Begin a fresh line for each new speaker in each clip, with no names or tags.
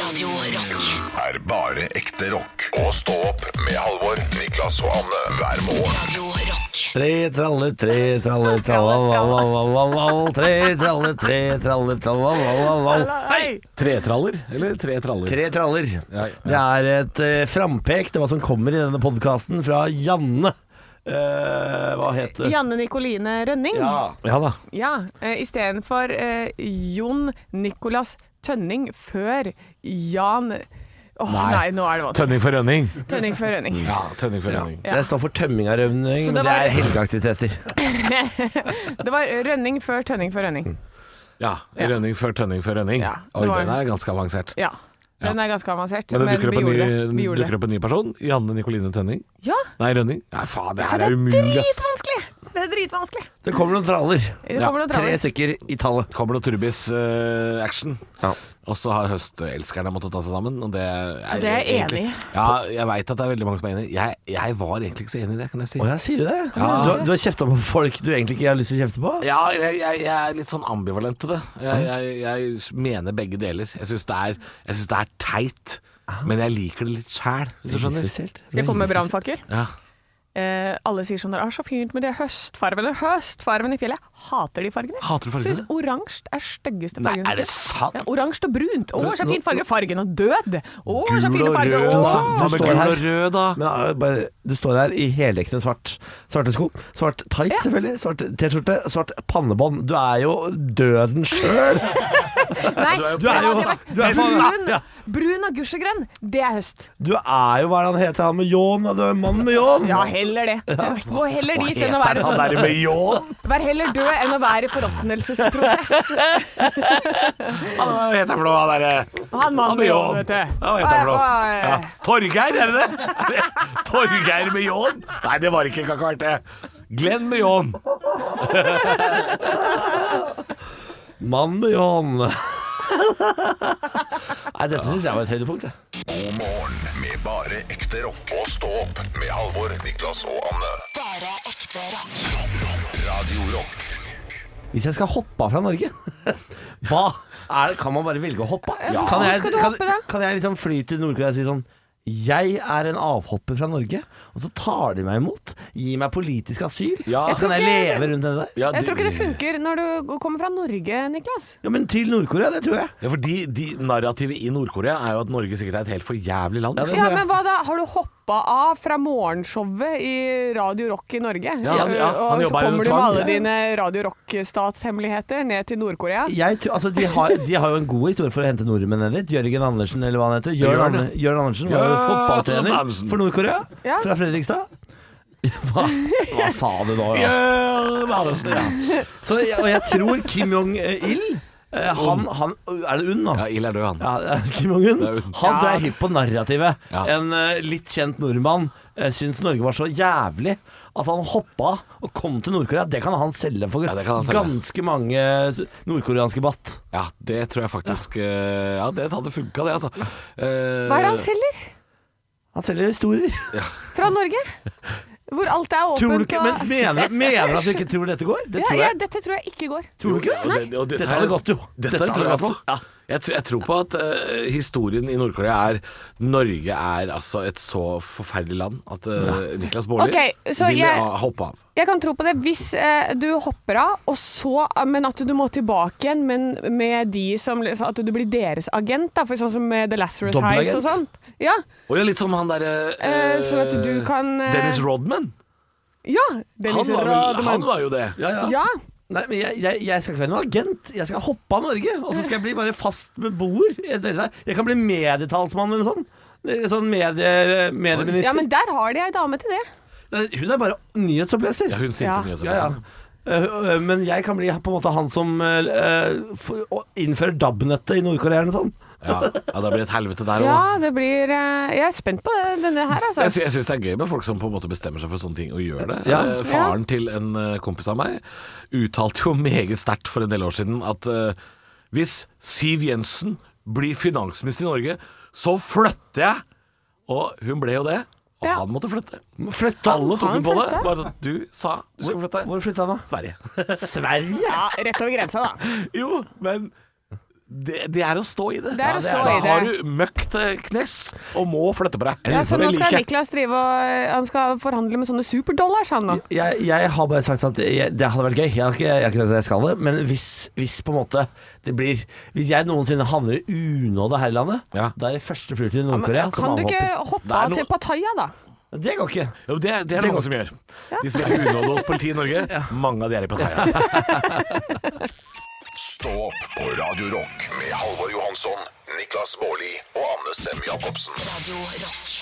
Radio Rock.
er bare ekte rock. Og stå opp med Halvor, Niklas og Anne hver morgen.
Radio Rock.
Tre tralle, tre tralle, tralalalalal, tre tralle, tre tralle, tralalalalal.
Hei! Tretraller, eller tre traller?
Tre traller.
Ja,
Det er et eh, frampek til hva som kommer i denne podkasten fra Janne. Eh, hva het det?
Janne Nikoline Rønning.
Ja.
Ja da.
Ja, eh, Istedenfor eh, Jon Nicolas Tønning før Jan Åh, nei.
Nei.
nå er det vanskelig.
Tønning Mm. for rønning.
Tønning før Rønning.
Ja, tønning for rønning.
Det står for tømming av rømning,
Så det
men det
var-
er helgeaktiviteter.
Det var eh, Rønning før Tønning før
Mm.
Rønning.
Ja, rønning før tønning for rønning.
Ja,
Oi,
det var-
den er ganske avansert.
Ja. Den er ganske avansert.
Men det dukker
vi
opp, en
gjorde det.
ny,
Vi gjorde
dukker
det.
opp en ny person. Janne Nikoline Tønning.
Ja,
Nei, Rønning. Nei, faen, det
så
her
det
er
er
umulig, ass.
dritvanskelig! Det er dritvanskelig.
Det kommer noen traller.
Det kommer noen
Tre
traller.
stykker i tallet.
Kommer noe turbis-action.
Ja.
Og så har høstelskerne måttet ta seg sammen. Og det er,
Det er jeg
egentlig-
enig i.
Ja, jeg veit at det er veldig mange som er enig. Jeg, jeg var egentlig ikke så enig i det, kan jeg si.
Å ja, sier du det? Du, har- du har kjefta på folk du egentlig ikke har lyst til å kjefte på?
Ja, jeg, jeg, jeg er litt sånn ambivalent til det. Jeg, jeg, jeg mener begge deler. Jeg syns det, er- jeg synes det er teit, men jeg Ah. liker det litt sjæl, hvis du skjønner.
Skal jeg komme med brannfakkel?
Ja.
Eh, alle sier sånn der, ah, så fint med det høstfarvene, høstfarvene i fjellet. Hater de fargene.
Hater du fargene?
Syns oransje er styggeste
Nei,
fargen.
er det sant?
Ja, oransje og brunt. Å, så fin farge. Fargen og død. Å, så
Gul
fine
og
farger.
rød,
Å,
Du
Hva med
står
gul
her.
og rød, da?
Men eh, bare, du står her i heldekkende svart Svarte sko, svart tight selvfølgelig Svart t-skjorte, svart pannebånd Du er jo døden selv
Nei,
du er jo-
det var-
du er faen-
brun,
ja.
brun og gusjegrønn, det er høst.
Du er jo, hva er det han heter, han med jån Du er mannen med jån
Ja, heller det. Gå heller dit enn å være
han
sånn.
der med ljåen?
Vær heller død enn å være i forråtnelsesprosess.
Han hva heter han for noe, han derre
Han mannen med ljåen, vet du.
Ja, hva heter han for noe?
Hva er-
Ja. Torgeir, er det det? Torgeir med ljåen? Nei, det var ikke kakart, det. Glenn med ljåen.
Mann med jån Nei, dette synes jeg var et høydepunkt jeg.
God morgen med bare ekte rock. Og stå opp med Halvor, Niklas og Anne.
Bare ekte rock.
Radio Rock
Hvis jeg skal hoppe av fra Norge Hva? Er det, kan man bare velge å hoppe? av?
Ja.
Kan, jeg,
Hvor skal du
kan,
hoppe, da?
kan jeg liksom fly til Nordkorea og si sånn jeg er en avhopper fra Norge, og så tar de meg imot, gir meg politisk asyl.
Ja.
Så kan jeg leve rundt det der.
Ja,
Jeg tror ikke det
du-
funker når du kommer fra Norge, Niklas.
Ja, men til Nord-Korea, det tror jeg.
Ja, fordi de, narrativet i Nord-Korea er jo at Norge sikkert er et helt forjævlig land. liksom.
Ja, det-
Ja, men hva da? Har du hoppa av fra morgenshowet i Radio Rock i Norge?
Ja, han- ja,
og
han
så
jobber under
kommer du med
tvang.
alle dine Radio Rock-statshemmeligheter ned til Nord-Korea?
Jeg tror, altså, de, har, de har jo en god historie for å hente nordmenn ned dit. Jørgen Andersen, eller hva han heter. Jørn,
Jørn,
Anne, Jørn Andersen var jo
Jørn
fotballtrener
Andersen.
for Nord-Korea.
Ja.
Fra Fredrikstad. Hva, hva sa du nå? Ja?
Jørn Andersen, ja.
Så, jeg- og jeg tror Kim Jong-il eh, han, han Er det UNN nå?
Ja, Ild er død, han.
Ja, Kim Jong-un.
Det er jo-
Han tror jeg er hypp på narrativet.
Ja.
En eh, litt kjent nordmann uh, syntes Norge var så jævlig at han hoppa og kom til Nord-Korea. Det kan han selge for
Ja, det kan han selge.
ganske mange s- nordkoreanske baht.
Ja, det tror jeg faktisk eh, Ja, det hadde funka, det, altså. Eh,
Hva er det han selger?
Han selger historier.
Fra Norge? Hvor alt er åpent
Tror du ikke,
og
men mener, mener du at du ikke tror dette går? Det
ja,
tror
ja,
jeg.
Dette tror jeg ikke går.
Tror du ikke det? Dette hadde gått, jo.
Dette,
Dette
tror
hadde
jeg
gått.
på. Jeg, tr- jeg tror på at eh, historien i Nord-Korea er Norge er altså et så forferdelig land at eh, Niklas Baarli
Ok, så
ville
jeg-
ha- hoppe av.
Jeg kan tro på det hvis eh, du hopper av, og så, eh, men at du må tilbake igjen men med de som liksom, At du blir deres agent, da, for sånn som med The Lazarus Highs og
Dobbelagent?
sånt. Ja,
Og ja, litt som han derre
Eh, sånn at du kan, eh,
Dennis Rodman.
ja
Han
Dennis
var, vel,
Rodman.
han var jo det.
Ja, ja.
Ja.
Nei, men jeg, jeg, jeg skal ikke være noen agent. Jeg skal hoppe av Norge, og så skal jeg bli bare fast beboer. i det der. Jeg kan bli medietalsmann eller noe sånt. Sånn medie, medieminister.
ja, men der har de ei dame til det.
Nei, Hun er bare nyhetsoppleser.
Ja, hun sånn. sinte
Ja.
nyhetsoppleser.
Ja, ja. Eh, eh, Men jeg kan bli på en måte han som eh, eh, for- å- innfører DAB-nettet i Nord-Korea eller noe sånt.
Ja, ja det blir et helvete der òg.
Ja, det blir eh, Jeg er spent på det, denne her, altså.
Jeg, sy jeg syns det er gøy med folk som på en måte bestemmer seg for sånne ting og gjør det.
Ja.
Eh, Faren til en eh, kompis av meg uttalte jo meget sterkt for en del år siden at eh, hvis Siv Jensen blir finansminister i Norge, så flytter jeg! Og hun ble jo det. Og
Ja.
han måtte flytte.
Flytte
Alle tok
Han
den på det.
flytta?
Bare at du sa du skulle flytte.
Hvor flytta han da?
Sverige.
Sverige?
Ja, rett over grensa, da.
jo, men det, det er å stå i det.
Det er å stå
da
i det.
har du møkk til knes og må flytte på deg.
Ja, så nå
Det liker
skal
jeg.
Niklas drive og eh, han skal forhandle med sånne superdollars, han nå.
jeg, jeg har bare sagt at jeg, det hadde vært gøy. Jeg har ikke, jeg har ikke sagt at jeg skal det. Men hvis, hvis på en måte det blir Hvis jeg noensinne havner i unåde her i landet,
Ja.
da er det første flyrtur til Nord-Korea som
Kan du ikke
avhopper.
hoppe
Det er
av
no-
til Pattaya, da?
Det går ikke.
Jo, det, det er det mange som gjør. De som er unådde hos politiet i Norge, mange av de er i Pattaya.
Stå opp på Radio Rock med Halvor Johansson, Niklas Baarli og Anne Sem Jacobsen.
Radio Rock.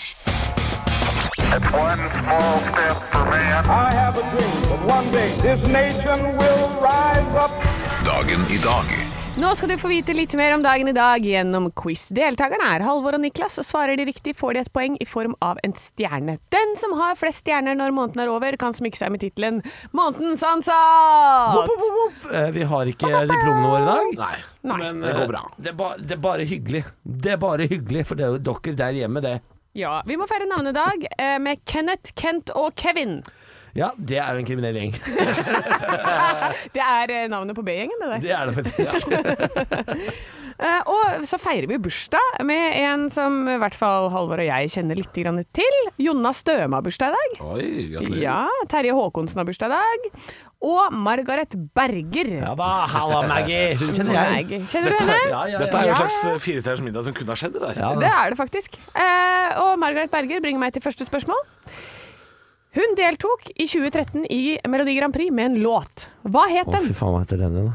One small step for man.
I have a dream that one day this nation will rise up.
Dagen i dag
Nå skal du få vite litt mer om dagen i dag gjennom quiz. Deltakerne er Halvor og Niklas, og svarer de riktig får de et poeng i form av en stjerne. Den som har flest stjerner når måneden er over, kan smykke seg med tittelen 'Månedens
Wopp,
ansatt'.
wopp, wopp, wopp. Eh, Vi har ikke diplomene våre i dag.
Nei.
Men,
det
eh,
går bra.
Det er, ba, det er bare hyggelig. Det er bare hyggelig for dere, dere der hjemme, det.
Ja, vi må feire navnedag eh, med Kenneth, Kent og Kevin.
Ja, det er jo en kriminell gjeng.
Det er eh, navnet på B-gjengen, det der.
Det er det faktisk. Ja.
Eh, og så feirer vi bursdag med en som i hvert fall Halvor og jeg kjenner litt grann til. Jonna Støme har bursdag i dag.
Oi, gratulerer.
Ja, Terje Håkonsen har bursdag i dag. Og Margaret Berger.
Ja da, halla Maggie. Hun kjenner jeg.
Nei, Kjenner du henne?
Ja, ja,
Dette
ja.
er jo en
Ja,
slags eh, firestjerners middag som kunne ha skjedd, det der.
Ja,
Det er det faktisk. Eh, og Margaret Berger bringer meg til første spørsmål. Hun deltok i 2013 i Melodi Grand Prix med en låt. Hva het
Å,
den?
fy faen, hva heter den igjen, da?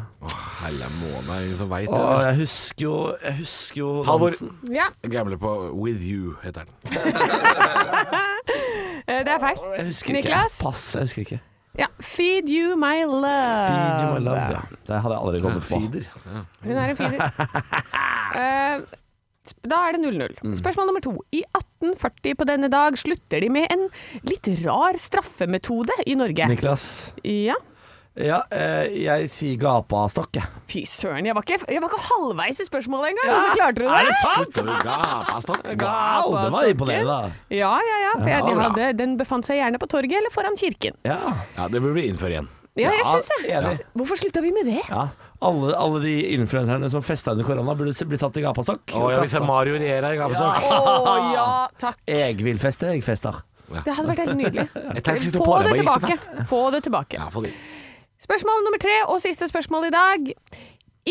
Helle måne, ingen som veit
Å,
det.
jeg husker jo, jeg husker jo
Halvor
dansen.
Ja,
gambler på With You, heter den.
eh, det er feil.
Jeg husker
Niklas?
ikke. Pass, jeg husker ikke.
Ja. Feed you my love.
Feed you my love, ja. Eh, Det hadde jeg aldri kommet på.
Feeder. Ja.
Hun er en firer. Eh, da er det 0-0.
Mm.
Spørsmål nummer to. I 1840 på denne dag slutter de med en litt rar straffemetode i Norge.
Niklas?
Ja.
Ja, eh, jeg sier gapastokk, jeg.
Fy søren, jeg var ikke, jeg var ikke halvveis i spørsmålet engang, og så klarte du det!
Er det sant?!
Slutter du gapastokken?
Wow, det var
Gapastokken.
imponerende, da.
Ja, ja, ja. For jeg,
Ja,
jeg
bra.
hadde, den befant seg gjerne på torget eller foran kirken.
Ja,
Ja, det burde vi innføre igjen.
Ja, jeg syns det.
Enig.
Hvorfor slutta vi med det?
Ja. Alle, alle de influenserne som festa under korona, burde se- bli tatt i gapastokk.
Å, ja, vi ser Mario regjere i gapastokk.
Å ja, takk.
Egvillfeste, eggfester.
Det hadde vært helt
Jeg tenkte
nydelig.
ikke på
Få
det,
det
jeg bare gikk
tilbake. Få det tilbake.
Ja, for de.
Spørsmål nummer tre, og siste spørsmål i dag.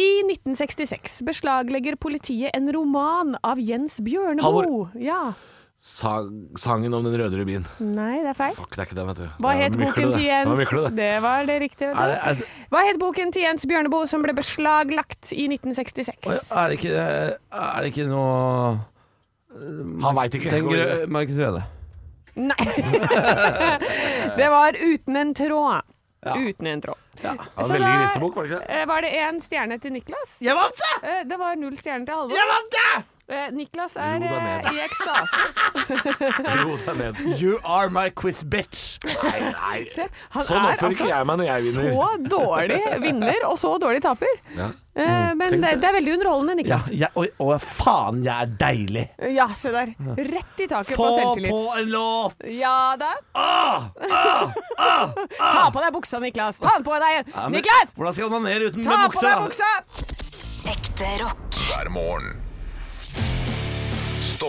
I 1966 beslaglegger politiet en roman av Jens Bjørneboe.
Halvor.
Ja.
Sang, sangen om den røde rubinen.
Nei, det er feil.
Fuck, det er ikke det, vet du.
Hva
Det var
het
mykle,
boken
det.
til
Det
Jens?
var mykle, det.
var det riktige.
Er det, er, det-
Hva het boken til Jens Bjørneboe som ble beslaglagt i 1966?
er, det ikke, eh, er det ikke noe
Han veit ikke.
Den grø- Markus Røde.
Nei. det var Uten en tråd. Uten en tråd.
Ja,
Så
veldig
da-
listebok, var det ikke det?
Eh, Var det én stjerne til Niklas?
Jeg vant det!
Eh, Det var null stjerner til Halvor.
Jeg vant det!
Eh, Niklas er
Jo da, ned.
eh, i ekstase.
Jo, det er ned.
You are my quiz bitch.
Nei, nei.
Se, han
Sånn
er altså
oppfører ikke jeg meg når jeg vinner.
Så dårlig vinner, og så dårlig taper.
Ja.
Eh, men det, det er veldig underholdende,
Ja,
Niklas.
jeg, oi, å, faen, jeg er deilig.
Ja, se der. Rett i taket
Få
på
på
selvtillit.
en låt!
Ja da. Ta på deg buksa, Niklas. Ta den på deg igjen.
Ja, men
Niklas!
Hvordan skal jeg onanere uten
Ta
med
på deg
buksa?
buksa!
Ekte rock.
hver morgen. Stå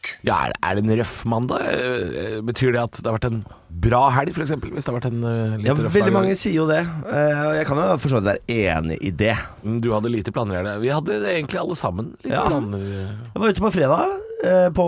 Ja, er, er det en røff mandag? Eh, eh, Betyr det at det har vært en bra helg, f.eks.? Hvis det har vært en eh, litt
Ja,
røff
veldig
dag?
mange sier jo det. Eh, og jeg kan jo for så vidt være enig i det.
Mm, Du hadde lite planer i det. Vi hadde egentlig alle sammen lite
Ja.
planer.
Jeg var ute på fredag eh, på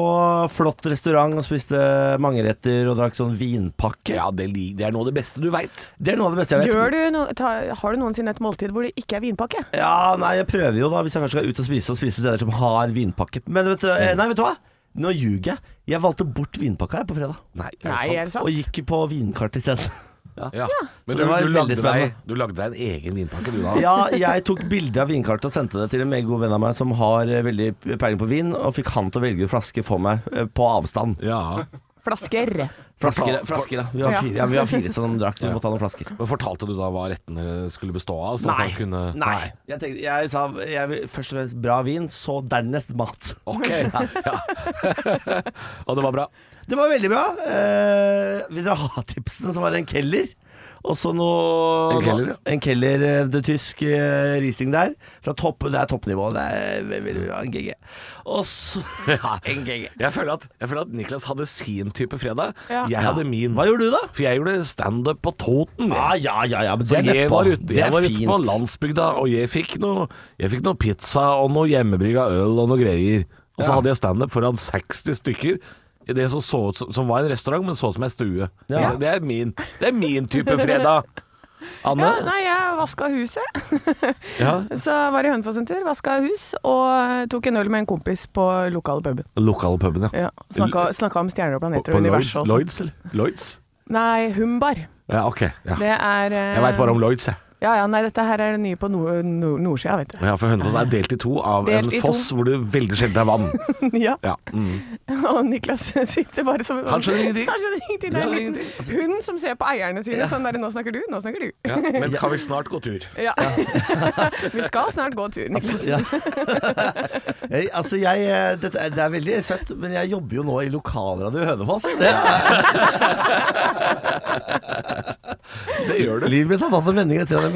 flott restaurant og spiste mangeretter og drakk sånn vinpakke.
Ja, det, li- det er noe av det beste du veit.
Det er noe av det beste jeg vet.
Gjør du no ta, har du noensinne et måltid hvor det ikke er vinpakke?
Ja, nei, jeg prøver jo da, hvis jeg først skal ut og spise, og spise steder som har vinpakke. Men vet du,
Mm.
eh, nei, vet du hva? Nå ljuger jeg. Jeg valgte bort vinpakka jeg på fredag,
Nei, er det
Nei,
sant?
er det
og
sant?
gikk på vinkart isteden.
Ja.
Så
Men du,
det var
du,
veldig
lagde deg,
spennende.
du lagde deg en egen vinpakke, du da?
Ja, jeg tok bilde av vinkartet og sendte det til en meget god venn av meg som har eh, veldig peiling på vin, og fikk han til å velge flaske for meg eh, på avstand.
Ja.
Flasker.
Flasker, flasker da. Vi var
Ja.
fire, ja, vi var fire som drakk, så vi måtte ha noen flasker.
Men Fortalte du da hva rettene skulle bestå av? sånn at han kunne...
nei. Jeg, tenkte, jeg sa jeg vil først og fremst bra vin, så dernest mat.
Ok. Ja. Og det var bra.
Det var veldig bra. Eh, vil dere ha tipsene, så var det en keller.
Og så noe
En Keller, ja.
En Keller, eh, det tysk eh, Riesling der. Fra topp, det er toppnivå. Det er veldig, veldig bra. En GG. Og så En GG.
Jeg føler, at, jeg føler at Niklas hadde sin type fredag.
Ja.
Jeg hadde min.
Hva gjorde du da?
For jeg gjorde standup på Toten.
Ah,
Ja, ja, ja, ja men
Så
det er
jeg
nedpå.
var ute,
Det er
jeg var ute
fint.
på landsbygda, og jeg fikk noe, jeg fikk noe pizza og noe hjemmebrygga øl og noe greier. Og så hadde jeg standup foran 60 stykker. I det som, så ut, som- som var en restaurant, men så ut som ei stue.
Ja.
Det, er min, det er min type fredag. Anne?
Ja, nei, jeg vaska huset.
Ja.
Så var jeg i Hønefoss en tur, vaska hus og tok en øl med en kompis på lokale puben.
Lokalpuben, ja.
Ja, Snakka, snakka om stjerner og planeter
på
og
Lloyds,
universet og sånn.
Lloyds, eller? Lloyds?
Nei, Humbar.
Ja, ok. Ja.
Det er eh,
Jeg veit bare om Lloyds, jeg.
Ja, ja, nei, dette her er det nye på nord, nord, nordsida, vet du.
Ja, for Hønefoss er delt i to av
Delt i
en
to.
foss hvor det veldig sjelden er vann.
Ja.
Ja, mm.
Og Niklas sitter bare som en sånn
Han skjønner ingenting.
Han skjønner ingenting. Det
Ja,
er en liten hund som ser på eierne sine sånn der Nå snakker du, nå snakker du.
ja. Men kan vi snart gå tur?
Ja. Vi skal snart gå tur, Niklas.
Ja. Jeg, altså jeg, eh, dette, er- det er veldig søtt, men jeg jobber jo nå i lokalradio i Hønefoss. og Det er,
Det gjør
livet mitt har tatt en vending etter at jeg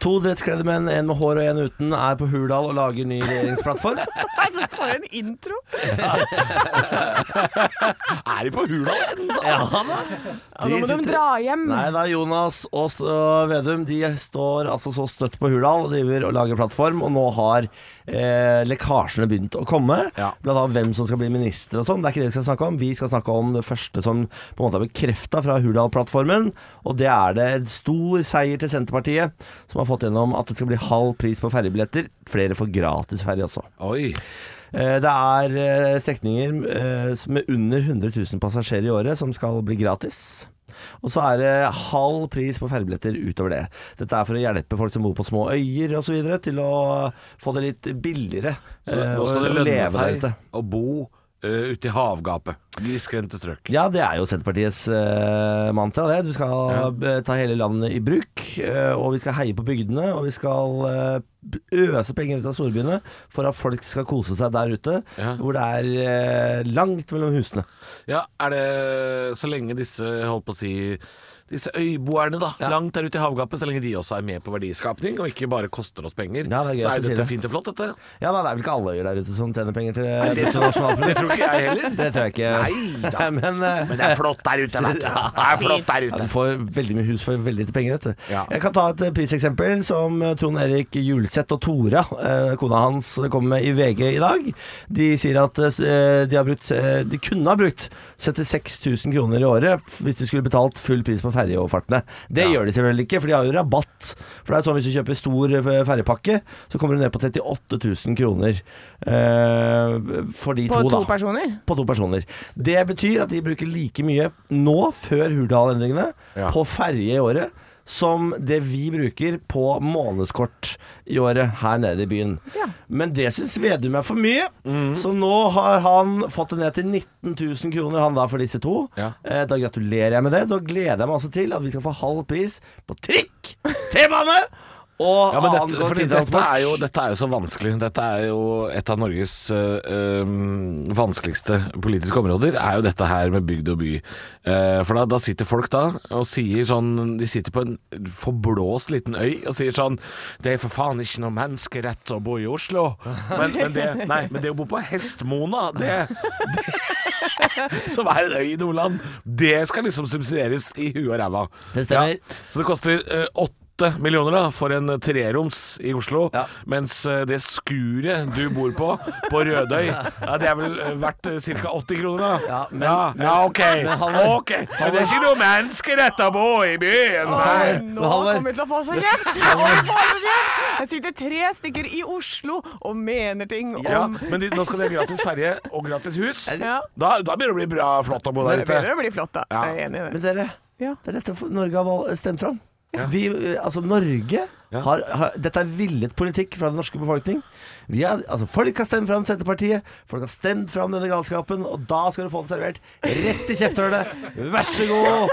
To drettkledde menn, en med hår og en uten, er på Hurdal og lager ny regjeringsplattform.
Altså, for en intro!
Er de på hula ennå?
Ja da.
Ja, nå må de dra hjem.
Nei da, Jonas og St og Vedum De står altså så støtt på Hurdal og driver og lager plattform, og nå har eh, lekkasjene begynt å komme.
Ja.
Blant annet hvem som skal bli minister og sånn. Det er ikke det vi skal snakke om. Vi skal snakke om det første som på en måte er bekrefta fra Hurdal-plattformen, og det er det en stor seier til Senterpartiet, som har fått gjennom at det skal bli halv pris på ferjebilletter. Flere får gratis ferje også.
Oi.
Eh, Det er eh, strekninger eh, som- med under 100 000 passasjerer i året som skal bli gratis. Og så er det halv pris på fergebilletter utover det. Dette er for å hjelpe folk som bor på små øyer osv. til å få det litt billigere. eh,
Nå skal
å-
det
å
lønne
leve der
seg
ute.
å bo eh, ute i havgapet. Grisgrendte strøk.
Ja, det er jo Senterpartiets eh, mantra, det. Du skal eh, ta hele landet i bruk, eh, og vi skal heie på bygdene, og vi skal eh, b- øse penger ut av storbyene for at folk skal kose seg der ute,
Ja.
hvor det er eh, langt mellom husene.
Ja, er det så lenge disse holdt på å si disse øyboerne da, langt der ute i havgapet, så lenge de også er med på verdiskapning og ikke bare koster oss penger,
Ja, det er gøy
så
at
er
du sier
dette
det.
fint og flott, dette.
Ja, da, det er vel ikke alle øyer der ute som tjener penger til
det
til nasjonalprodukt.
Det tror ikke jeg heller.
Det tror jeg ikke.
Nei da.
Men, eh,
Men det er flott der ute, vet du. Det er flott der
ja,
ute.
du får veldig mye hus for veldig lite penger, vet du.
Ja.
Jeg kan ta et eh, priseksempel som eh, Trond Erik Julseth og Tora, eh, kona hans, kommer med i VG i dag. De sier at eh, s- eh, de, har brukt, eh, de kunne ha brukt 76 000 kroner i året f- hvis de skulle betalt full pris på ferjeoverfartene. Det gjør de selvfølgelig ikke, for de har jo rabatt. For det er jo sånn hvis du kjøper stor eh, ferjepakke, så kommer du ned på 38 000 kroner eh, for de
På
to,
to
da
personer.
på to personer. Det betyr at de bruker like mye nå, før Hurdal-endringene,
Ja.
på ferje i året, som det vi bruker på månedskort i året her nede i byen.
Ja.
Men det syns Vedum er for mye,
Mhm.
så nå har han fått det ned til 19 000 kroner, han da, for disse to.
Ja.
Eh, Da gratulerer jeg med det. Da gleder jeg meg altså til at vi skal få halv pris på trikk, T-bane og
Ja, men
annen
dette, fordi
kollektivtransport.
dette, er jo, dette er jo så vanskelig. Dette er jo et av Norges øh, øhm, vanskeligste politiske områder, er jo dette her med bygd og by. Eh, for da, da sitter folk da og sier sånn De sitter på en forblåst liten øy og sier sånn Det er for faen ikke noe menneskerett å bo i Oslo. Men, men, det, nei, men det å bo på Hestmona, det, det Som er en øy i Nordland, det skal liksom subsidieres i huet og ræva.
Det stemmer.
Så det koster eh, åtte millioner da for en treroms i Oslo,
Ja.
mens eh, det skuret du bor på, på Rødøy, ja, det er vel eh, verdt ca. 80 kroner, da?
Ja, men-
ja, ja, ok.
Halvor-
ok. Men det er ikke noe menneskerett å bo i byen!
Halvor-
Nei.
Nei, Nå
Men Halvor-
kommer vi til å få så kjeft! Nå kommer vi til å få så kjeft! Det sitter tre stykker i Oslo og mener ting om
Ja, men de, nå skal de ha gratis ferje og gratis hus.
Ja.
Da, da begynner det å bli bra flott å bo der
Det
ute.
begynner å bli flott, da.
Ja.
Jeg er enig i det.
Men dere,
Ja.
det er dette Norge har valg- stemt fram.
Vi, altså Norge har, har, Dette er villet politikk fra den norske befolkning. Vi er, altså, folk har stemt fram Senterpartiet, folk har stemt fram denne galskapen, og da skal du få den servert rett i kjefthølet. Vær så god!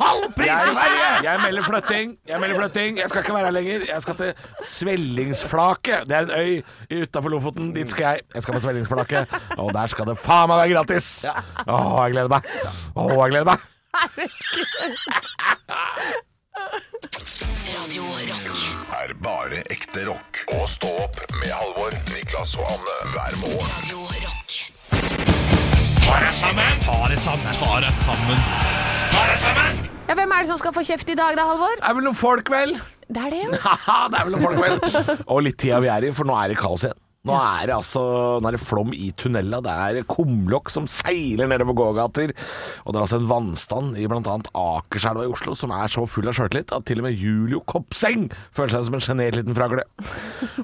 Halv pris til Sverige!
Jeg melder flytting! Jeg melder flytting Jeg skal ikke være her lenger. Jeg skal til Svellingsflaket. Det er en øy utafor Lofoten. Dit skal jeg. Jeg skal på Svellingsflaket, og der skal det faen meg være gratis! Å, jeg gleder meg. Å, jeg gleder meg.
Radio Rock.
er bare ekte rock. Og stå opp med Halvor, Niklas og Anne hver morgen.
Radio Rock.
Ja, Hvem er det som skal få kjeft i dag da, Halvor?
Det er vel noen folk, vel?
Det er det, jo.
Haha, det er vel noen folk, vel? Og litt tida vi er i, for nå er det kaos igjen. Nå er det altså Nå er det flom i tunnela. Det er kumlokk som seiler nedover gågater. Og det er altså en vannstand i bl.a. Akerselva i Oslo som er så full av sjøltillit at til og med Julio Kopseng føler seg som en sjenert liten fragle.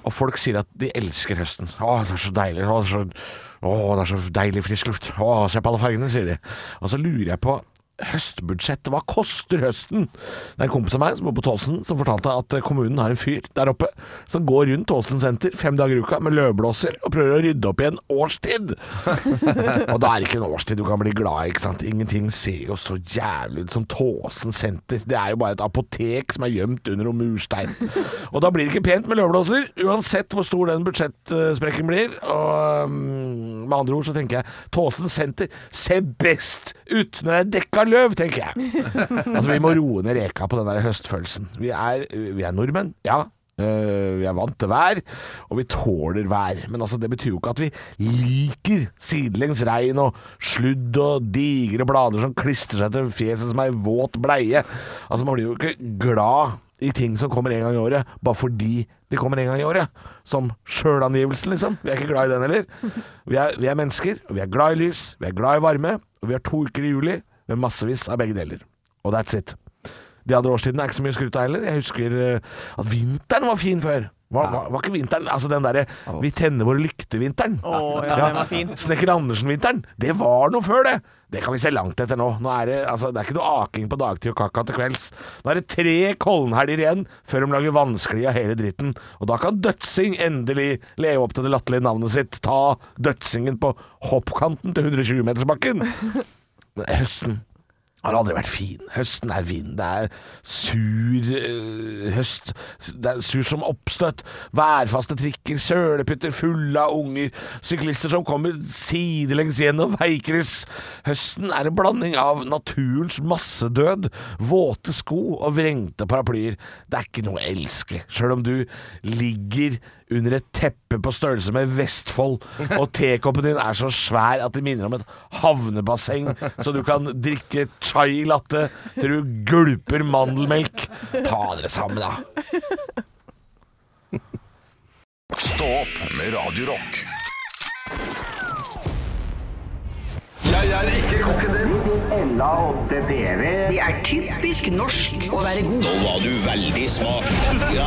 Og folk sier at de elsker høsten. Å, det er så deilig. Å, det er så, å, det er så deilig frisk luft. Å, se på alle fargene, sier de. Og så lurer jeg på høstbudsjettet, hva koster høsten? Det er en kompis av meg som bor på Tåsen, som fortalte at kommunen har en fyr der oppe som går rundt Tåsen senter fem dager i uka med løvblåser og prøver å rydde opp i en årstid. og da er det ikke en årstid du kan bli glad i, ikke sant? Ingenting ser jo så jævlig ut som Tåsen senter. Det er jo bare et apotek som er gjemt under noen murstein. og da blir det ikke pent med løvblåser, uansett hvor stor den budsjettsprekken blir. Og um, med andre ord så tenker jeg Tåsen senter ser best ut når det er dekka løv, tenker jeg. altså Vi må roe ned reka på den der høstfølelsen. Vi er, vi er nordmenn, ja. Eh, vi er vant til vær, og vi tåler vær. Men altså, det betyr jo ikke at vi liker sidelengs regn og sludd og digre blader som klistrer seg til fjeset som ei våt bleie. Altså, man blir jo ikke glad i ting som kommer en gang i året, bare fordi de kommer en gang i året. Som sjølangivelsen, liksom. Vi er ikke glad i den heller. Vi er, vi er mennesker, og vi er glad i lys, vi er glad i varme, og vi har to uker i juli med massevis av begge deler. Og that's it. De andre årstidene er ikke så mye å skryte av heller. Jeg husker eh, at vinteren var fin før. Var, var, var ikke vinteren Altså den derre 'vi tenner våre lykter'-vinteren.
Å, ja, den var fin.
Snekker Andersen-vinteren. Det var noe før, det! Det kan vi se langt etter nå. nå er det, altså, det er ikke noe aking på dagtid og kakka til kvelds. Nå er det tre Kollenhelger igjen før de lager vanskelig av hele dritten. Og da kan Dødsing endelig leve opp til det latterlige navnet sitt. Ta Dødsingen på hoppkanten til 120-metersbakken. Men Høsten har aldri vært fin. Høsten er vind. Det er sur øh, høst. Det er sur som oppstøtt. Værfaste trikker, sølepytter fulle av unger, syklister som kommer sidelengs gjennom veikryss. Høsten er en blanding av naturens massedød, våte sko og vrengte paraplyer. Det er ikke noe å elske, sjøl om du ligger under et teppe på størrelse med Vestfold, og tekoppen din er så svær at det minner om et havnebasseng, så du kan drikke chai latte til du gulper mandelmelk. Ta dere sammen, da.
Stå opp med Radio Rock.
Det er typisk norsk å være god. Nå var du veldig smart.
Hvor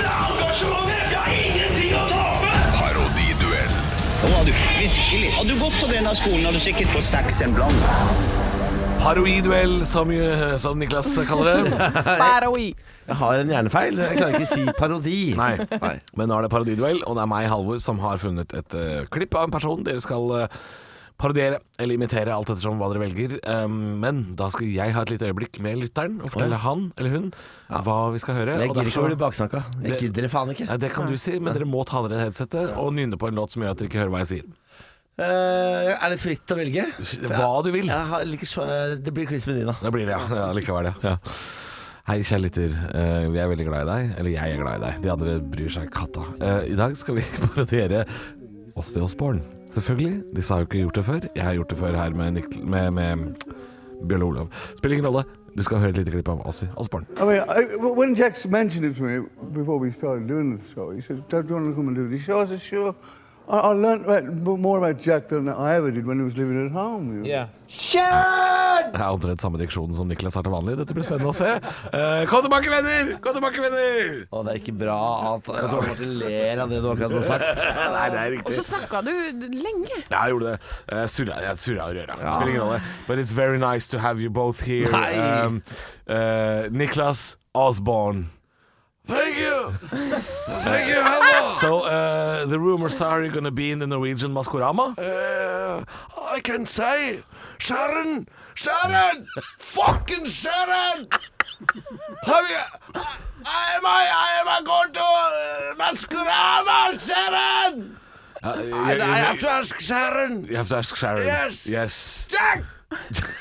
er engasjementet? Jeg har ingenting å tape!
Parodiduell.
Nå var du virkelig. Hadde du gått på denne skolen, hadde du sikkert fått seks en blank.
Paroiduell, som, jo- som Niklas kaller det.
Paroi.
Jeg har en hjernefeil. Jeg klarer ikke å si parodi.
Nei. Men nå er det parodiduell, og det er meg, Halvor, som har funnet et eh, klipp av en person dere skal eh, parodiere eller imitere, alt ettersom hva dere velger. Um, men da skal jeg ha et lite øyeblikk med lytteren og fortelle han eller hun hva vi skal høre.
Jeg
og
gidder ikke
derfor-
å bli baksnakka. Jeg gidder det faen ikke.
Nei, det kan du si, men dere må ta dere headsetet og nynne på en låt som gjør at dere ikke hører hva jeg sier.
Eh, er det fritt å velge?
Hva du vil.
Jeg har, liker så, det blir quiz med Nina.
Da blir det, ja. ja likevel, ja. ja. Hei, kjære lytter. Eh, vi er veldig glad i deg. Eller jeg er glad i deg. De andre bryr seg katta. Eh, I dag skal vi parodiere Åssi Osborn. Selvfølgelig. Disse har jo ikke gjort det før. Jeg har gjort det før her med, Nik med, med Bjørn Olav. Spiller ingen rolle. Du skal høre et lite klipp av Åssi Osborn.
I mean, I, w- when Jax mentioned it to me before we started doing the show, he said, "Dad, do you want to come and do this show?" I said, "Sure." I, I learned about, m- more about Jack than I ever did when he was living at home. You know?
Shut
Jeg har omtrent samme diksjon som Niklas har til vanlig. Dette blir spennende å se. Eh, kom tilbake, venner! Kom tilbake, venner!
Å, det er ikke bra at at Martin ler av det du akkurat har sagt.
Nei, det er
Og
riktig.
så snakka du lenge.
Ja, jeg gjorde det. Jeg surra, jeg surra og røra. Spiller ingen rolle. But it's very nice to have you both here.
Nei.
Um, eh, Niklas Osborne. Thank you! Thank you, hello! So, uh, the rumors are you're gonna be in the Norwegian Maskorama? Eh, I can say Sharon! Sharon! Fucking Sharon! Have you... I am I, I am I going to eh, Maskorama, Sharon! I, have to ask Sharon. You have to ask Sharon. Yes. Yes. Jack!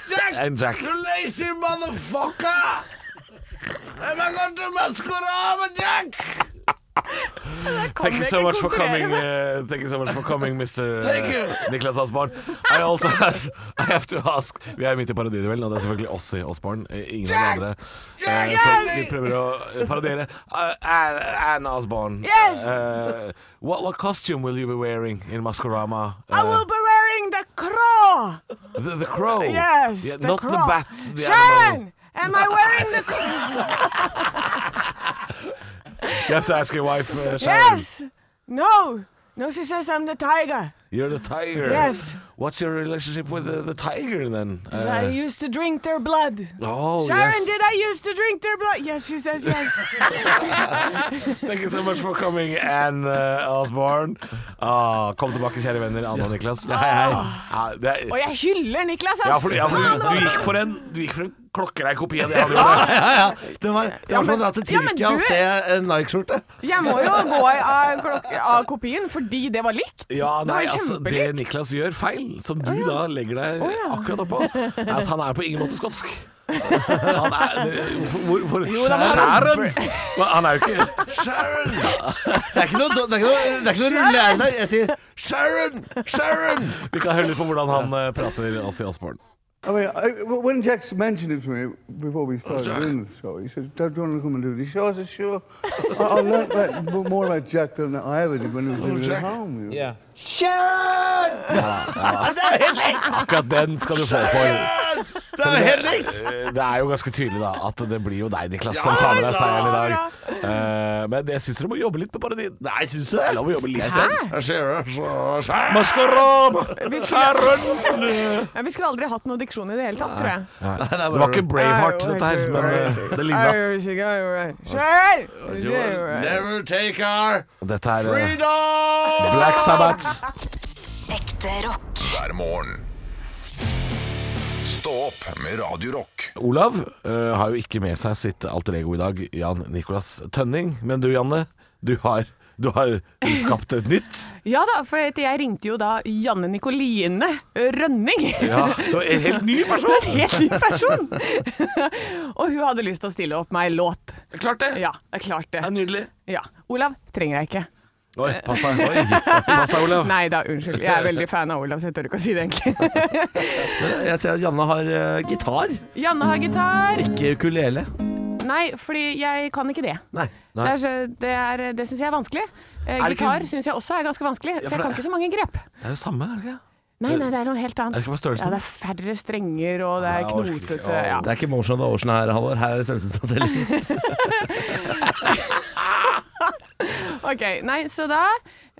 Jack! and Jack. You lazy motherfucker! Am I going to Maskorama, Jack? Thank you so much for coming. Uh, thank you so much for coming, Mr. Uh, Niklas Osborn. I also have, I have to ask Vi er midt i parodiduellen, og det er selvfølgelig oss i Osborn. eh, Ingen av de andre. Eh, så vi prøver å eh, parodiere. Uh, Anne Anne Osborn.
Yes.
Uh, what, what costume will you be wearing in Maskorama? Uh,
I will be wearing the crow.
The, the crow.
Oh, Yes,
Oh. Yeah,
the
not
crow.
the bat. The
Sharon,
animal.
am I wearing the crow?
You have to ask your wife, uh, Sharon.
Yes. No. No, she says I'm the tiger.
You're the tiger.
Yes.
What's your relationship with the, the tiger then?
So I
Uh,
used to drink their blood.
oh,
Sharon,
yes.
did I used to drink their blood? Yes, she says yes.
Thank you so much for coming, Anne uh, Osborne. Ah, kom tilbake, kjære venner, Anne og Niklas.
Ah.
Hei, hei. Ja, det er,
Og jeg hyller Niklas, ass.
ja, for, ja, for
Faen, det
du,
var-
du gikk for en Du gikk for en klokkerei kopi av det han gjorde.
Ja, ja. Det var, det var som å dra til
Ja, men
Tyrkia og
du-
se en Nike-skjorte.
Jeg må jo gå av, klok- av kopien fordi det var likt.
Ja,
Det var
nei, altså,
kjempelikt.
det Niklas gjør feil, som du da legger deg akkurat oppå, er at han er på ingen måte skotsk. Han er Hvorfor hvor, hvor, Sharon! Men Han er jo ikke Sharon!
Det er ikke noe, det er ikke noe, det er ikke noe rullerende der. Jeg sier
Sharon! Sharon! Vi kan høre litt på hvordan han eh, prater Asi Osborn.
I mean, I, w- when Jack's mentioned it to me before we started doing the show, he said, "Dad, do you want to come and do this show?" I said, "Sure." I, I learned that m- more about Jack than I ever did when he was living at home. You know?
Yeah. Akkurat den skal du få for.
det er jo helt likt!
Eh, Det er jo ganske tydelig da at det blir jo deg, Niklas, som tar med deg seieren i dag. Eh, Men jeg syns dere må jobbe litt med parodien. Nei, syns du det? La meg jobbe litt selv. Maskorama! Sharon!
Ja, vi skulle aldri hatt noe diksjon i det hele tatt, tror jeg.
Det var ikke Braveheart, dette her, men eh, det ligna.
Sharon! Sharon!
Never take our
Dette er eh,
freedom!
Black Sabbath.
Ekte rock.
hver morgen. Stå opp med Radio Rock.
Olav eh, har jo ikke med seg sitt alter ego i dag, Jan Nicolas Tønning. Men du, Janne, du har, du har skapt et nytt.
Ja da, for at jeg ringte jo da Janne Nikoline Rønning.
så en helt ny
Det er
person!
en helt ny person! Og hun hadde lyst til å stille opp meg en låt.
Klart det!
Ja, det er klart
Det
det.
er nydelig.
Ja. Olav trenger jeg ikke.
Oi, pass deg. Oi, pass deg, Olav.
Nei da, unnskyld. Jeg er veldig fan av Olav, så jeg tør ikke å si det, egentlig.
Jeg ser at Janne har eh, gitar,
Janne har gitar.
ikke ukulele.
Nei, fordi jeg kan ikke det.
Nei.
Det, er så, det, er, det syns jeg er vanskelig. Eh,
Er det ikke-
gitar syns jeg også er ganske vanskelig, så jeg kan ikke så mange grep.
Det er jo samme, er det ikke?
Nei, nei, det er noe helt annet.
Er det ikke bare størrelsen?
Ja, det er færre strenger, og det er
jeg orker ikke.
knotete ja.
Det er ikke Motion of the Ocean her, Halvor. Her er det størrelsesavdeling.
Ok, nei, så da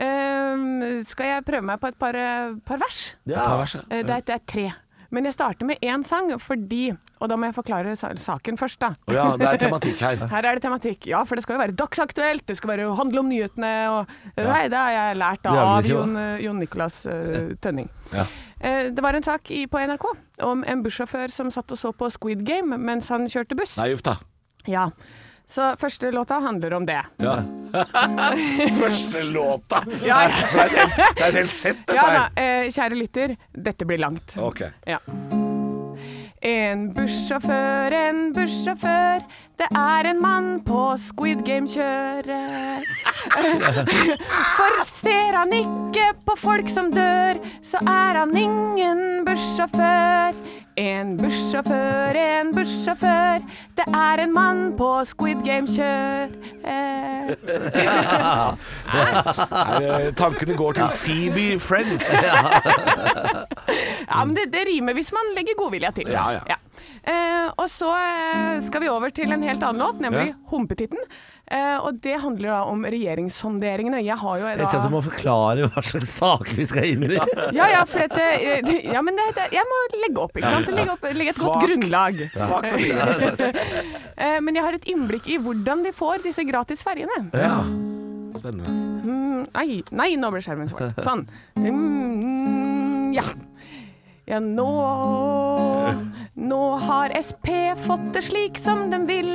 ehm, skal jeg prøve meg på et par, eh, par vers.
Ja.
Ta verset.
Eh, det, er, det er tre. Men jeg starter med én sang fordi Og da må jeg forklare sa saken først, da.
Å ja, det er tematikk her.
Her er det tematikk. Ja, for det skal jo være dagsaktuelt, det skal være handle om nyhetene og Nei, det har jeg lært da, av
Reality, hva?
Jon, eh, Jon Nicolas eh, Tønning.
Ja.
Eh, det var en sak i, på NRK om en bussjåfør som satt og så på Squid Game mens han kjørte buss.
Nei, uff da.
Ja. Så første låta handler om det.
Ja. Første låta!
Ja,
Det er et helt- det er et helt sett, dette
ja da,
her.
eh, kjære lytter, dette blir langt.
Ok.
Ja. En bussjåfør, en bussjåfør, det er en mann på Squid Game-kjøret. For ser han ikke på folk som dør, så er han ingen bussjåfør. En bussjåfør, en bussjåfør, det er en mann på Squid Game-kjøret.
Nei, eh, Tankene går til Phoebe Friends.
Ja, men det, det rimer hvis man legger godvilja til.
Ja, ja.
Eh, og så eh, skal vi over til en helt annen låt, nemlig
Ja.
Humpetitten. Eh, og det handler da om regjeringssonderingene. Jeg har jo
Jeg ser at du
da
må forklare hva slags saker vi skal inn i.
ja, ja, for dette, eh, det- ja, men det, det, jeg må legge opp, ikke sant? Legge, opp, legge et godt
Svak.
grunnlag.
Svak satire.
Eh, men jeg har et innblikk i hvordan de får disse gratis ferjene. Mm,
Ja. Spennende.
Nei, nei, nå ble skjermen svart. Sånn. Mm, ja. Ja, nå Nå har SP fått det slik som de vil.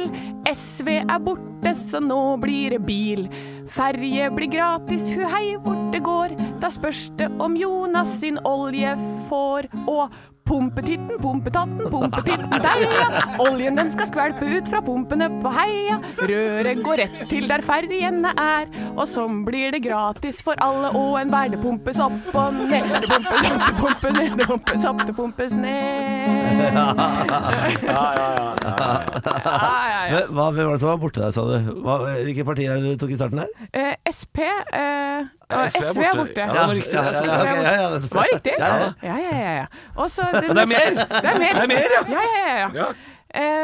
SV er borte, så nå blir det bil. Ferje blir gratis, hu hei hvor det går. Da spørs det om Jonas sin olje får. Og pumpetitten, pumpetatten, pumpetitten deg, ja. Oljen den skal skvelpe ut fra pumpene på heia. Røret går rett til der ferjene er. Og sånn blir det gratis for alle og enhver. Det pumpes opp og ned, det pumpes opp, det pumpes ned, det pumpes opp, det pumpes ned.
Men Hva hvem var det som var borte der, sa du? Hva, hvilke partier er det du tok i starten her?
Eh, SP eh, og
SV er
SV er
borte.
borte.
Ja, det var riktig.
Ja, ja, ja, ok, ja, ja, det-
Det var riktig?
Ja, ja.
ja, ja, ja, ja. Og så det,
er mer.
Det er mer!
Det er mer, ja.
ja, ja, ja, ja.
Ja.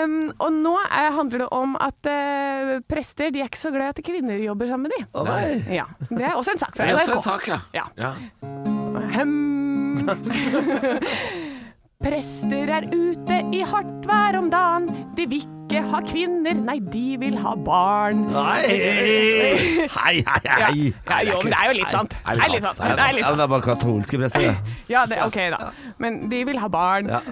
Em, og nå eh, handler det om at eh, prester de er ikke så glad i at kvinner jobber sammen med de.
Å, nei.
Ja, Det er også en sak fra
Det er også en
NRK.
sak, ja.
Ja.
ja.
Hem. Prester er ute i hardt vær om dagen. De vil ikke ha kvinner, nei, de vil ha barn.
Nei! Hei, hei,
Ja,
hei!
ja jo, men det er jo litt sant.
er
Det er litt sant. Det er litt
Ja, men det er bare katolske presser. det.
Ja, det, ok da. Men de vil ha barn.
Ja.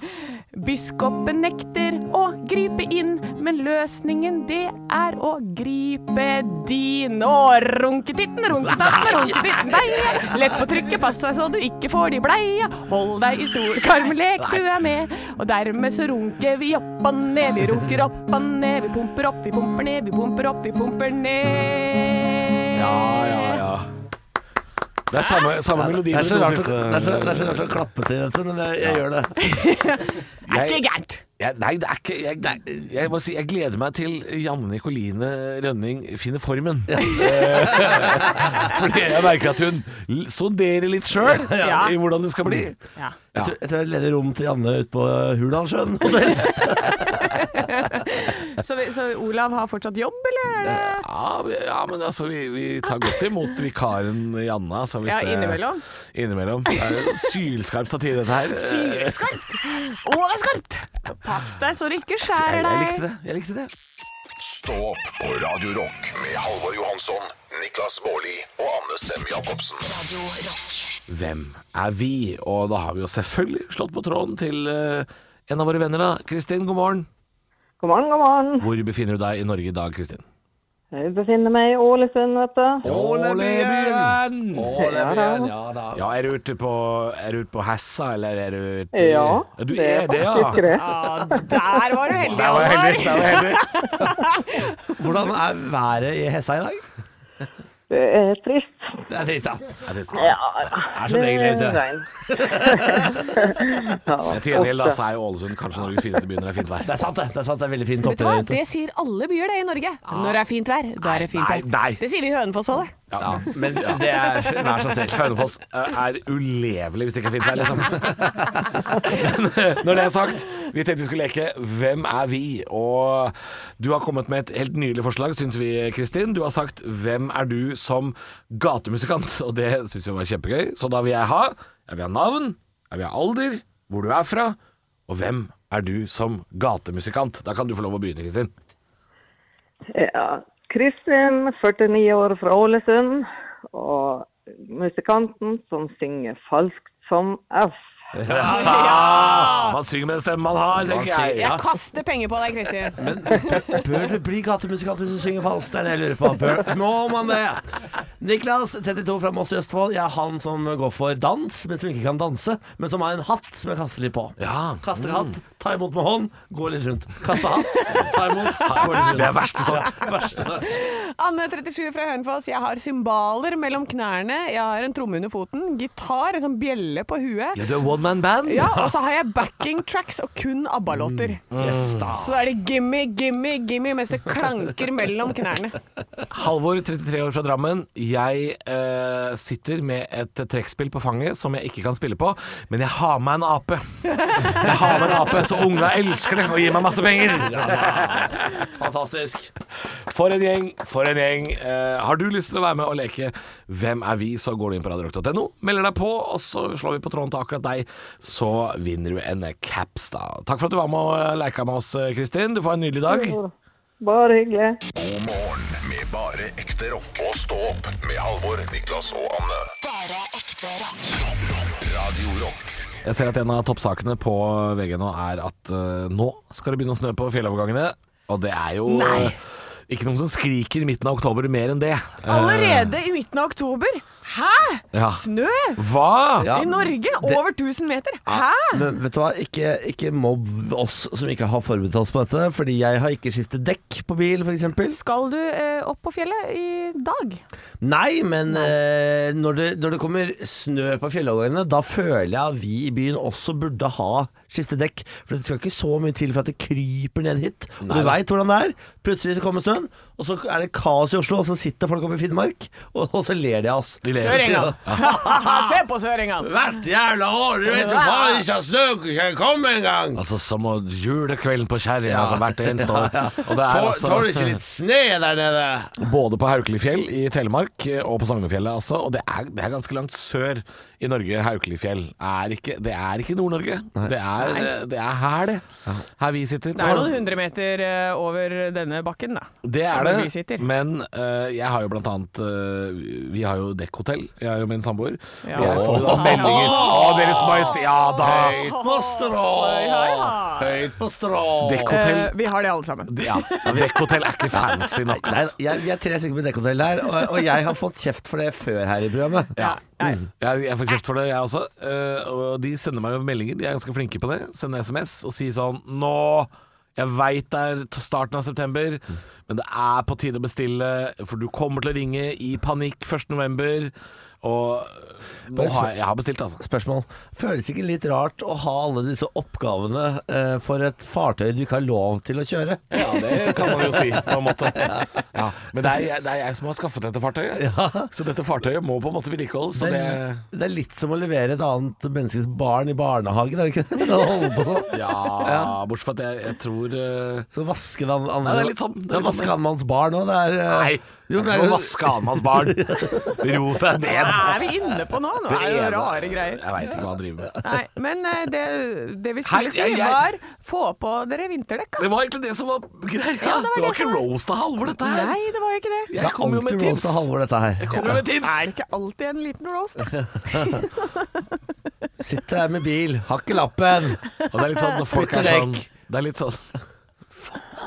Biskopen nekter å gripe inn, men løsningen det er å gripe din. Og runketitten, runketatten, runketitten deg. Lett på trykket, pass deg så du ikke får de bleia. Hold deg i stol, karmelek, du er med. Og dermed så runker vi opp og ned, vi runker opp og ned. Vi pumper opp, vi pumper ned, vi pumper opp, vi pumper ned.
Ja, ja, ja. Det er samme, samme melodi.
Det er så rart å-
med de to siste-
det er så- det er så rart å klappe til dette, men jeg, jeg gjør det.
Det er ikke gærent.
Jeg, nei, det er ikke jeg, nei, jeg må si jeg gleder meg til Janne Nicoline Rønning finner formen. Eh, Fordi jeg merker at hun l- sonderer litt sjøl
Ja.
i hvordan det skal bli.
Ja.
Jeg tror- Jeg tror jeg leder rom til Janne ute på eh, Hurdalssjøen.
Så, vi- så Olav har fortsatt jobb, eller? er det-
Ja, vi- ja men altså, vi, vi tar godt imot vikaren Janne. Altså, hvis
Ja,
det-
innimellom.
Innimellom. Det er jo sylskarp satire, dette her.
Sylskarpt! Å, det er skarpt! Pass deg så du ikke
Jeg,
skjærer
jeg
deg.
likte det. Jeg likte det.
Stå opp på Radio Rock med Halvor Johansson, Niklas Baarli og Anne Sem Jacobsen.
Radio Rock.
Hvem er vi? Og da har vi jo selvfølgelig slått på tråden til eh, en av våre venner, da. Kristin, god morgen.
God morgen, god morgen.
Hvor befinner du deg i Norge i dag, Kristin?
Jeg befinner meg i Ålesund, vet du.
Ålebyen!
Ja da.
Ja da.
Ja, er du ute på, er du ute på Hessa, eller er du ute
Ja,
Ja, du
det er faktisk det.
Ja, Ah, der var du heldig,
Der var jeg heldig.
Halvor.
Der var jeg heldig.
Hvordan er været i Hessa i dag?
Det er trist.
Det er trist, da.
Ja,
Det er som regel det, vet du.
regn. ja,
Til gjengjeld da, så er jo Ålesund kanskje Norges fineste by når det er fint vær.
Det er sant, det. det, er sant, det er veldig fint
Vet du hva,
oppe.
det sier alle byer det i Norge. Når det er fint vær, da er det fint
Nei, nei.
vær. Det sier vi i Hønefoss òg, det.
Ja, men det er vær så snill. Hønefoss eh, er ulevelig hvis det ikke er fint vær, liksom. Men eh, når det er sagt, vi tenkte vi skulle leke Hvem er vi? Og du har kommet med et helt nydelig forslag, syns vi, Kristin. Du har sagt Hvem er du som gatemusikant? Og det syns vi var kjempegøy. Så da vil jeg ha Jeg vil ha navn, jeg vil ha alder, hvor du er fra, og hvem er du som gatemusikant? Da kan du få lov å begynne, Kristin.
ja. Kristin, 49 år fra Ålesund, og musikanten som synger falskt som F.
Man synger med den stemmen man har, tenker jeg.
Jeg kaster penger på deg, Kristin.
Bør det bli gatemusikanter som synger falskt? Det er det jeg lurer på. Bør, må man det? Niklas, 32 fra Moss i Østfold. Jeg er han som går for dans, men som ikke kan danse. Men som har en hatt som jeg kaster litt på.
Ja.
Kaster hatt, ta imot med hånd, gå litt rundt. Kaste hatt, ta imot, gå litt rundt.
Det er verste sort.
Verste sort.
Anne 37 fra Hønefoss. Jeg har cymbaler mellom knærne. Jeg har en tromme under foten. Gitar, en sånn bjelle på huet.
Ja, du er one man band.
Ja, og så har jeg backing tracks og kun ABBA-låter.
Mm. Yes, da.
så er det gimme, gimme, gimme mens det klanker mellom knærne.
Halvor, 33 år fra Drammen. Jeg eh, sitter med et trekkspill på fanget som jeg ikke kan spille på, men jeg har med en ape. Jeg har med en ape, så unga elsker det og gir meg masse penger. Fantastisk. For en gjeng, for en gjeng. Eh, har du lyst til å være med og leke Hvem er vi?, så går du inn på radiorock.no, melder deg på, og så slår vi på tråden til akkurat deg. Så vinner du en caps, da. Takk for at du var med og leika med oss, eh, Kristin. Du får en nydelig dag.
Bare hyggelig.
God morgen med bare ekte rock. Og stå opp med Halvor, Niklas og Anne.
Bare ekte rock.
Radio Rock.
Jeg ser at en av toppsakene på VG nå er at eh, nå skal det begynne å snø på fjellovergangene. Og det er jo
Nei.
eh, ikke noen som skriker i midten av oktober mer enn det. Eh,
Allerede i midten av oktober. Hæ?
Ja.
Snø?
Hva?
Ja.
I Norge? Over 1000 meter? Hæ?
Men vet du hva, ikke, ikke mobb oss som ikke har forberedt oss på dette, fordi jeg har ikke skiftet dekk på bil, f.eks.
Skal du eh, opp på fjellet i dag?
Nei, men eh, når, det, når det kommer snø på fjellovergangene, da føler jeg at vi i byen også burde ha skiftet dekk. For det skal ikke så mye til for at det kryper ned hit. Og
Nei,
du
nei.
veit hvordan det er. Plutselig så kommer snøen, og så er det kaos i Oslo, og så sitter folk oppe i Finnmark, og, og så ler de av oss.
De ler.
Så sier de,
Se på søringene!
Hvert jævla år, du vet jo faen ikke at snø kan komme engang!
Altså som å julekvelden på kjerringa
Ja.
hvert eneste år. Og det er
Tål-
altså-
Tåler ikke litt sne der nede?
Både på Haukelifjell i Telemark eh, og på Sognefjellet, altså. Og det er, det er ganske langt sør i Norge, Haukelifjell. Er ikke, det er ikke Nord-Norge. Det, er, eh, det er her, det. Her vi sitter.
Det er noen hundre meter eh, over denne bakken, da.
Det er
Der hvor vi
det,
sitter.
men eh, jeg har jo blant annet eh, Vi har jo dekkhotell, jeg er jo min samboer.
Ja.
Jeg får jo
Åh.
meldinger Å, Deres Majestet! Ja da!
Høyt på strå!
ja.
Høyt på strå!
Dekkhotell
Eh, vi har det alle sammen.
ja, Dekkhotell er ikke fancy nok.
Nei,
ass.
jeg, vi er tre stykker på dekkhotell der, og, og jeg har fått kjeft for det før her i programmet.
Ja.
Ja, ja.
Mm. Jeg, jeg får kjeft for det, jeg også. Eh, og de sender meg jo meldinger, de er ganske flinke på det. Sender SMS og sier sånn Nå! Jeg veit det er t- starten av september, men det er på tide å bestille, for du kommer til å ringe i panikk 1.11. Og eh, nå har jeg, jeg har bestilt, altså.
Spørsmål. Føles ikke litt rart å ha alle disse oppgavene eh, for et fartøy du ikke har lov til å kjøre?
Ja, det kan man jo si, på en måte. Ja, men det er, jeg- det er jeg som har skaffet dette fartøyet. Så dette fartøyet må på en måte vedlikeholdes. så
Det er,
det-
det er litt som å levere et annet menneskes barn i barnehagen, er det ikke det? Å holde på sånn.
Ja, bortsett fra at jeg, jeg tror eh,
Så vaske det an-
Nei, det er litt sånn. Det er
Ja,
litt
vaske
sånn.
annenmanns barn òg, det er eh,
Nei,
jo, det
det er
er
som å
jo-
vaske annenmanns barn. Ro deg ned.
Hva er vi inne på nå? Nå er det jo rare greier.
Jeg veit ikke hva han driver med.
Nei, men eh, det, det vi
Hei,
skulle si,
jeg- jeg-
var få på dere vinterdekka.
Det var egentlig det som var greia.
Ja, det var
det,
det som
var ikke
var-
roast av Halvor, dette her.
Nei, det var jo ikke det.
Det
Jeg
er
kom jo med
alltid roast
tips.
av Halvor, dette
Jeg
her.
kom jo med tips.
Er det ikke alltid en liten roast? da?
Sitter her med bil, har ikke lappen.
Og det er litt sånn når folk
Putte
er sånn
dekk.
Det er litt sånn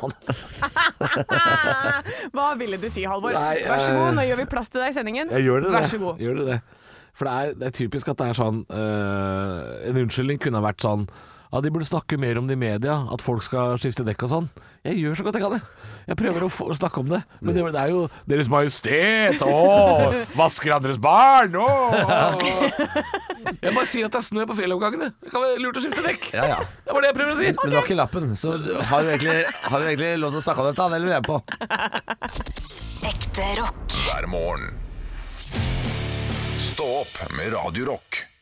Hva ville du si, Halvor?
Nei,
Vær så
eh,
god, nå gjør vi plass til deg i sendingen.
Jeg gjør det,
Vær så god.
Gjør det, det. For det er, det er typisk at det er sånn øh, En unnskyldning kunne ha vært sånn ja, De burde snakke mer om det i media, at folk skal skifte dekk og sånn. Jeg gjør så godt jeg kan, jeg. Jeg prøver å få, snakke om det. Men det, det er jo Deres Majestet! Å! Vasker andres barn! Å! Jeg bare sier at det er snø på fjellovergangene. Det kan være lurt å skifte dekk.
Ja, ja.
Det var det jeg prøver å si.
Men du har ikke lappen, så du- har du egentlig, har du egentlig lov til å snakke om dette? Det lurer jeg på.
Ekte rock.
Hver morgen. Stå opp med Radio Rock.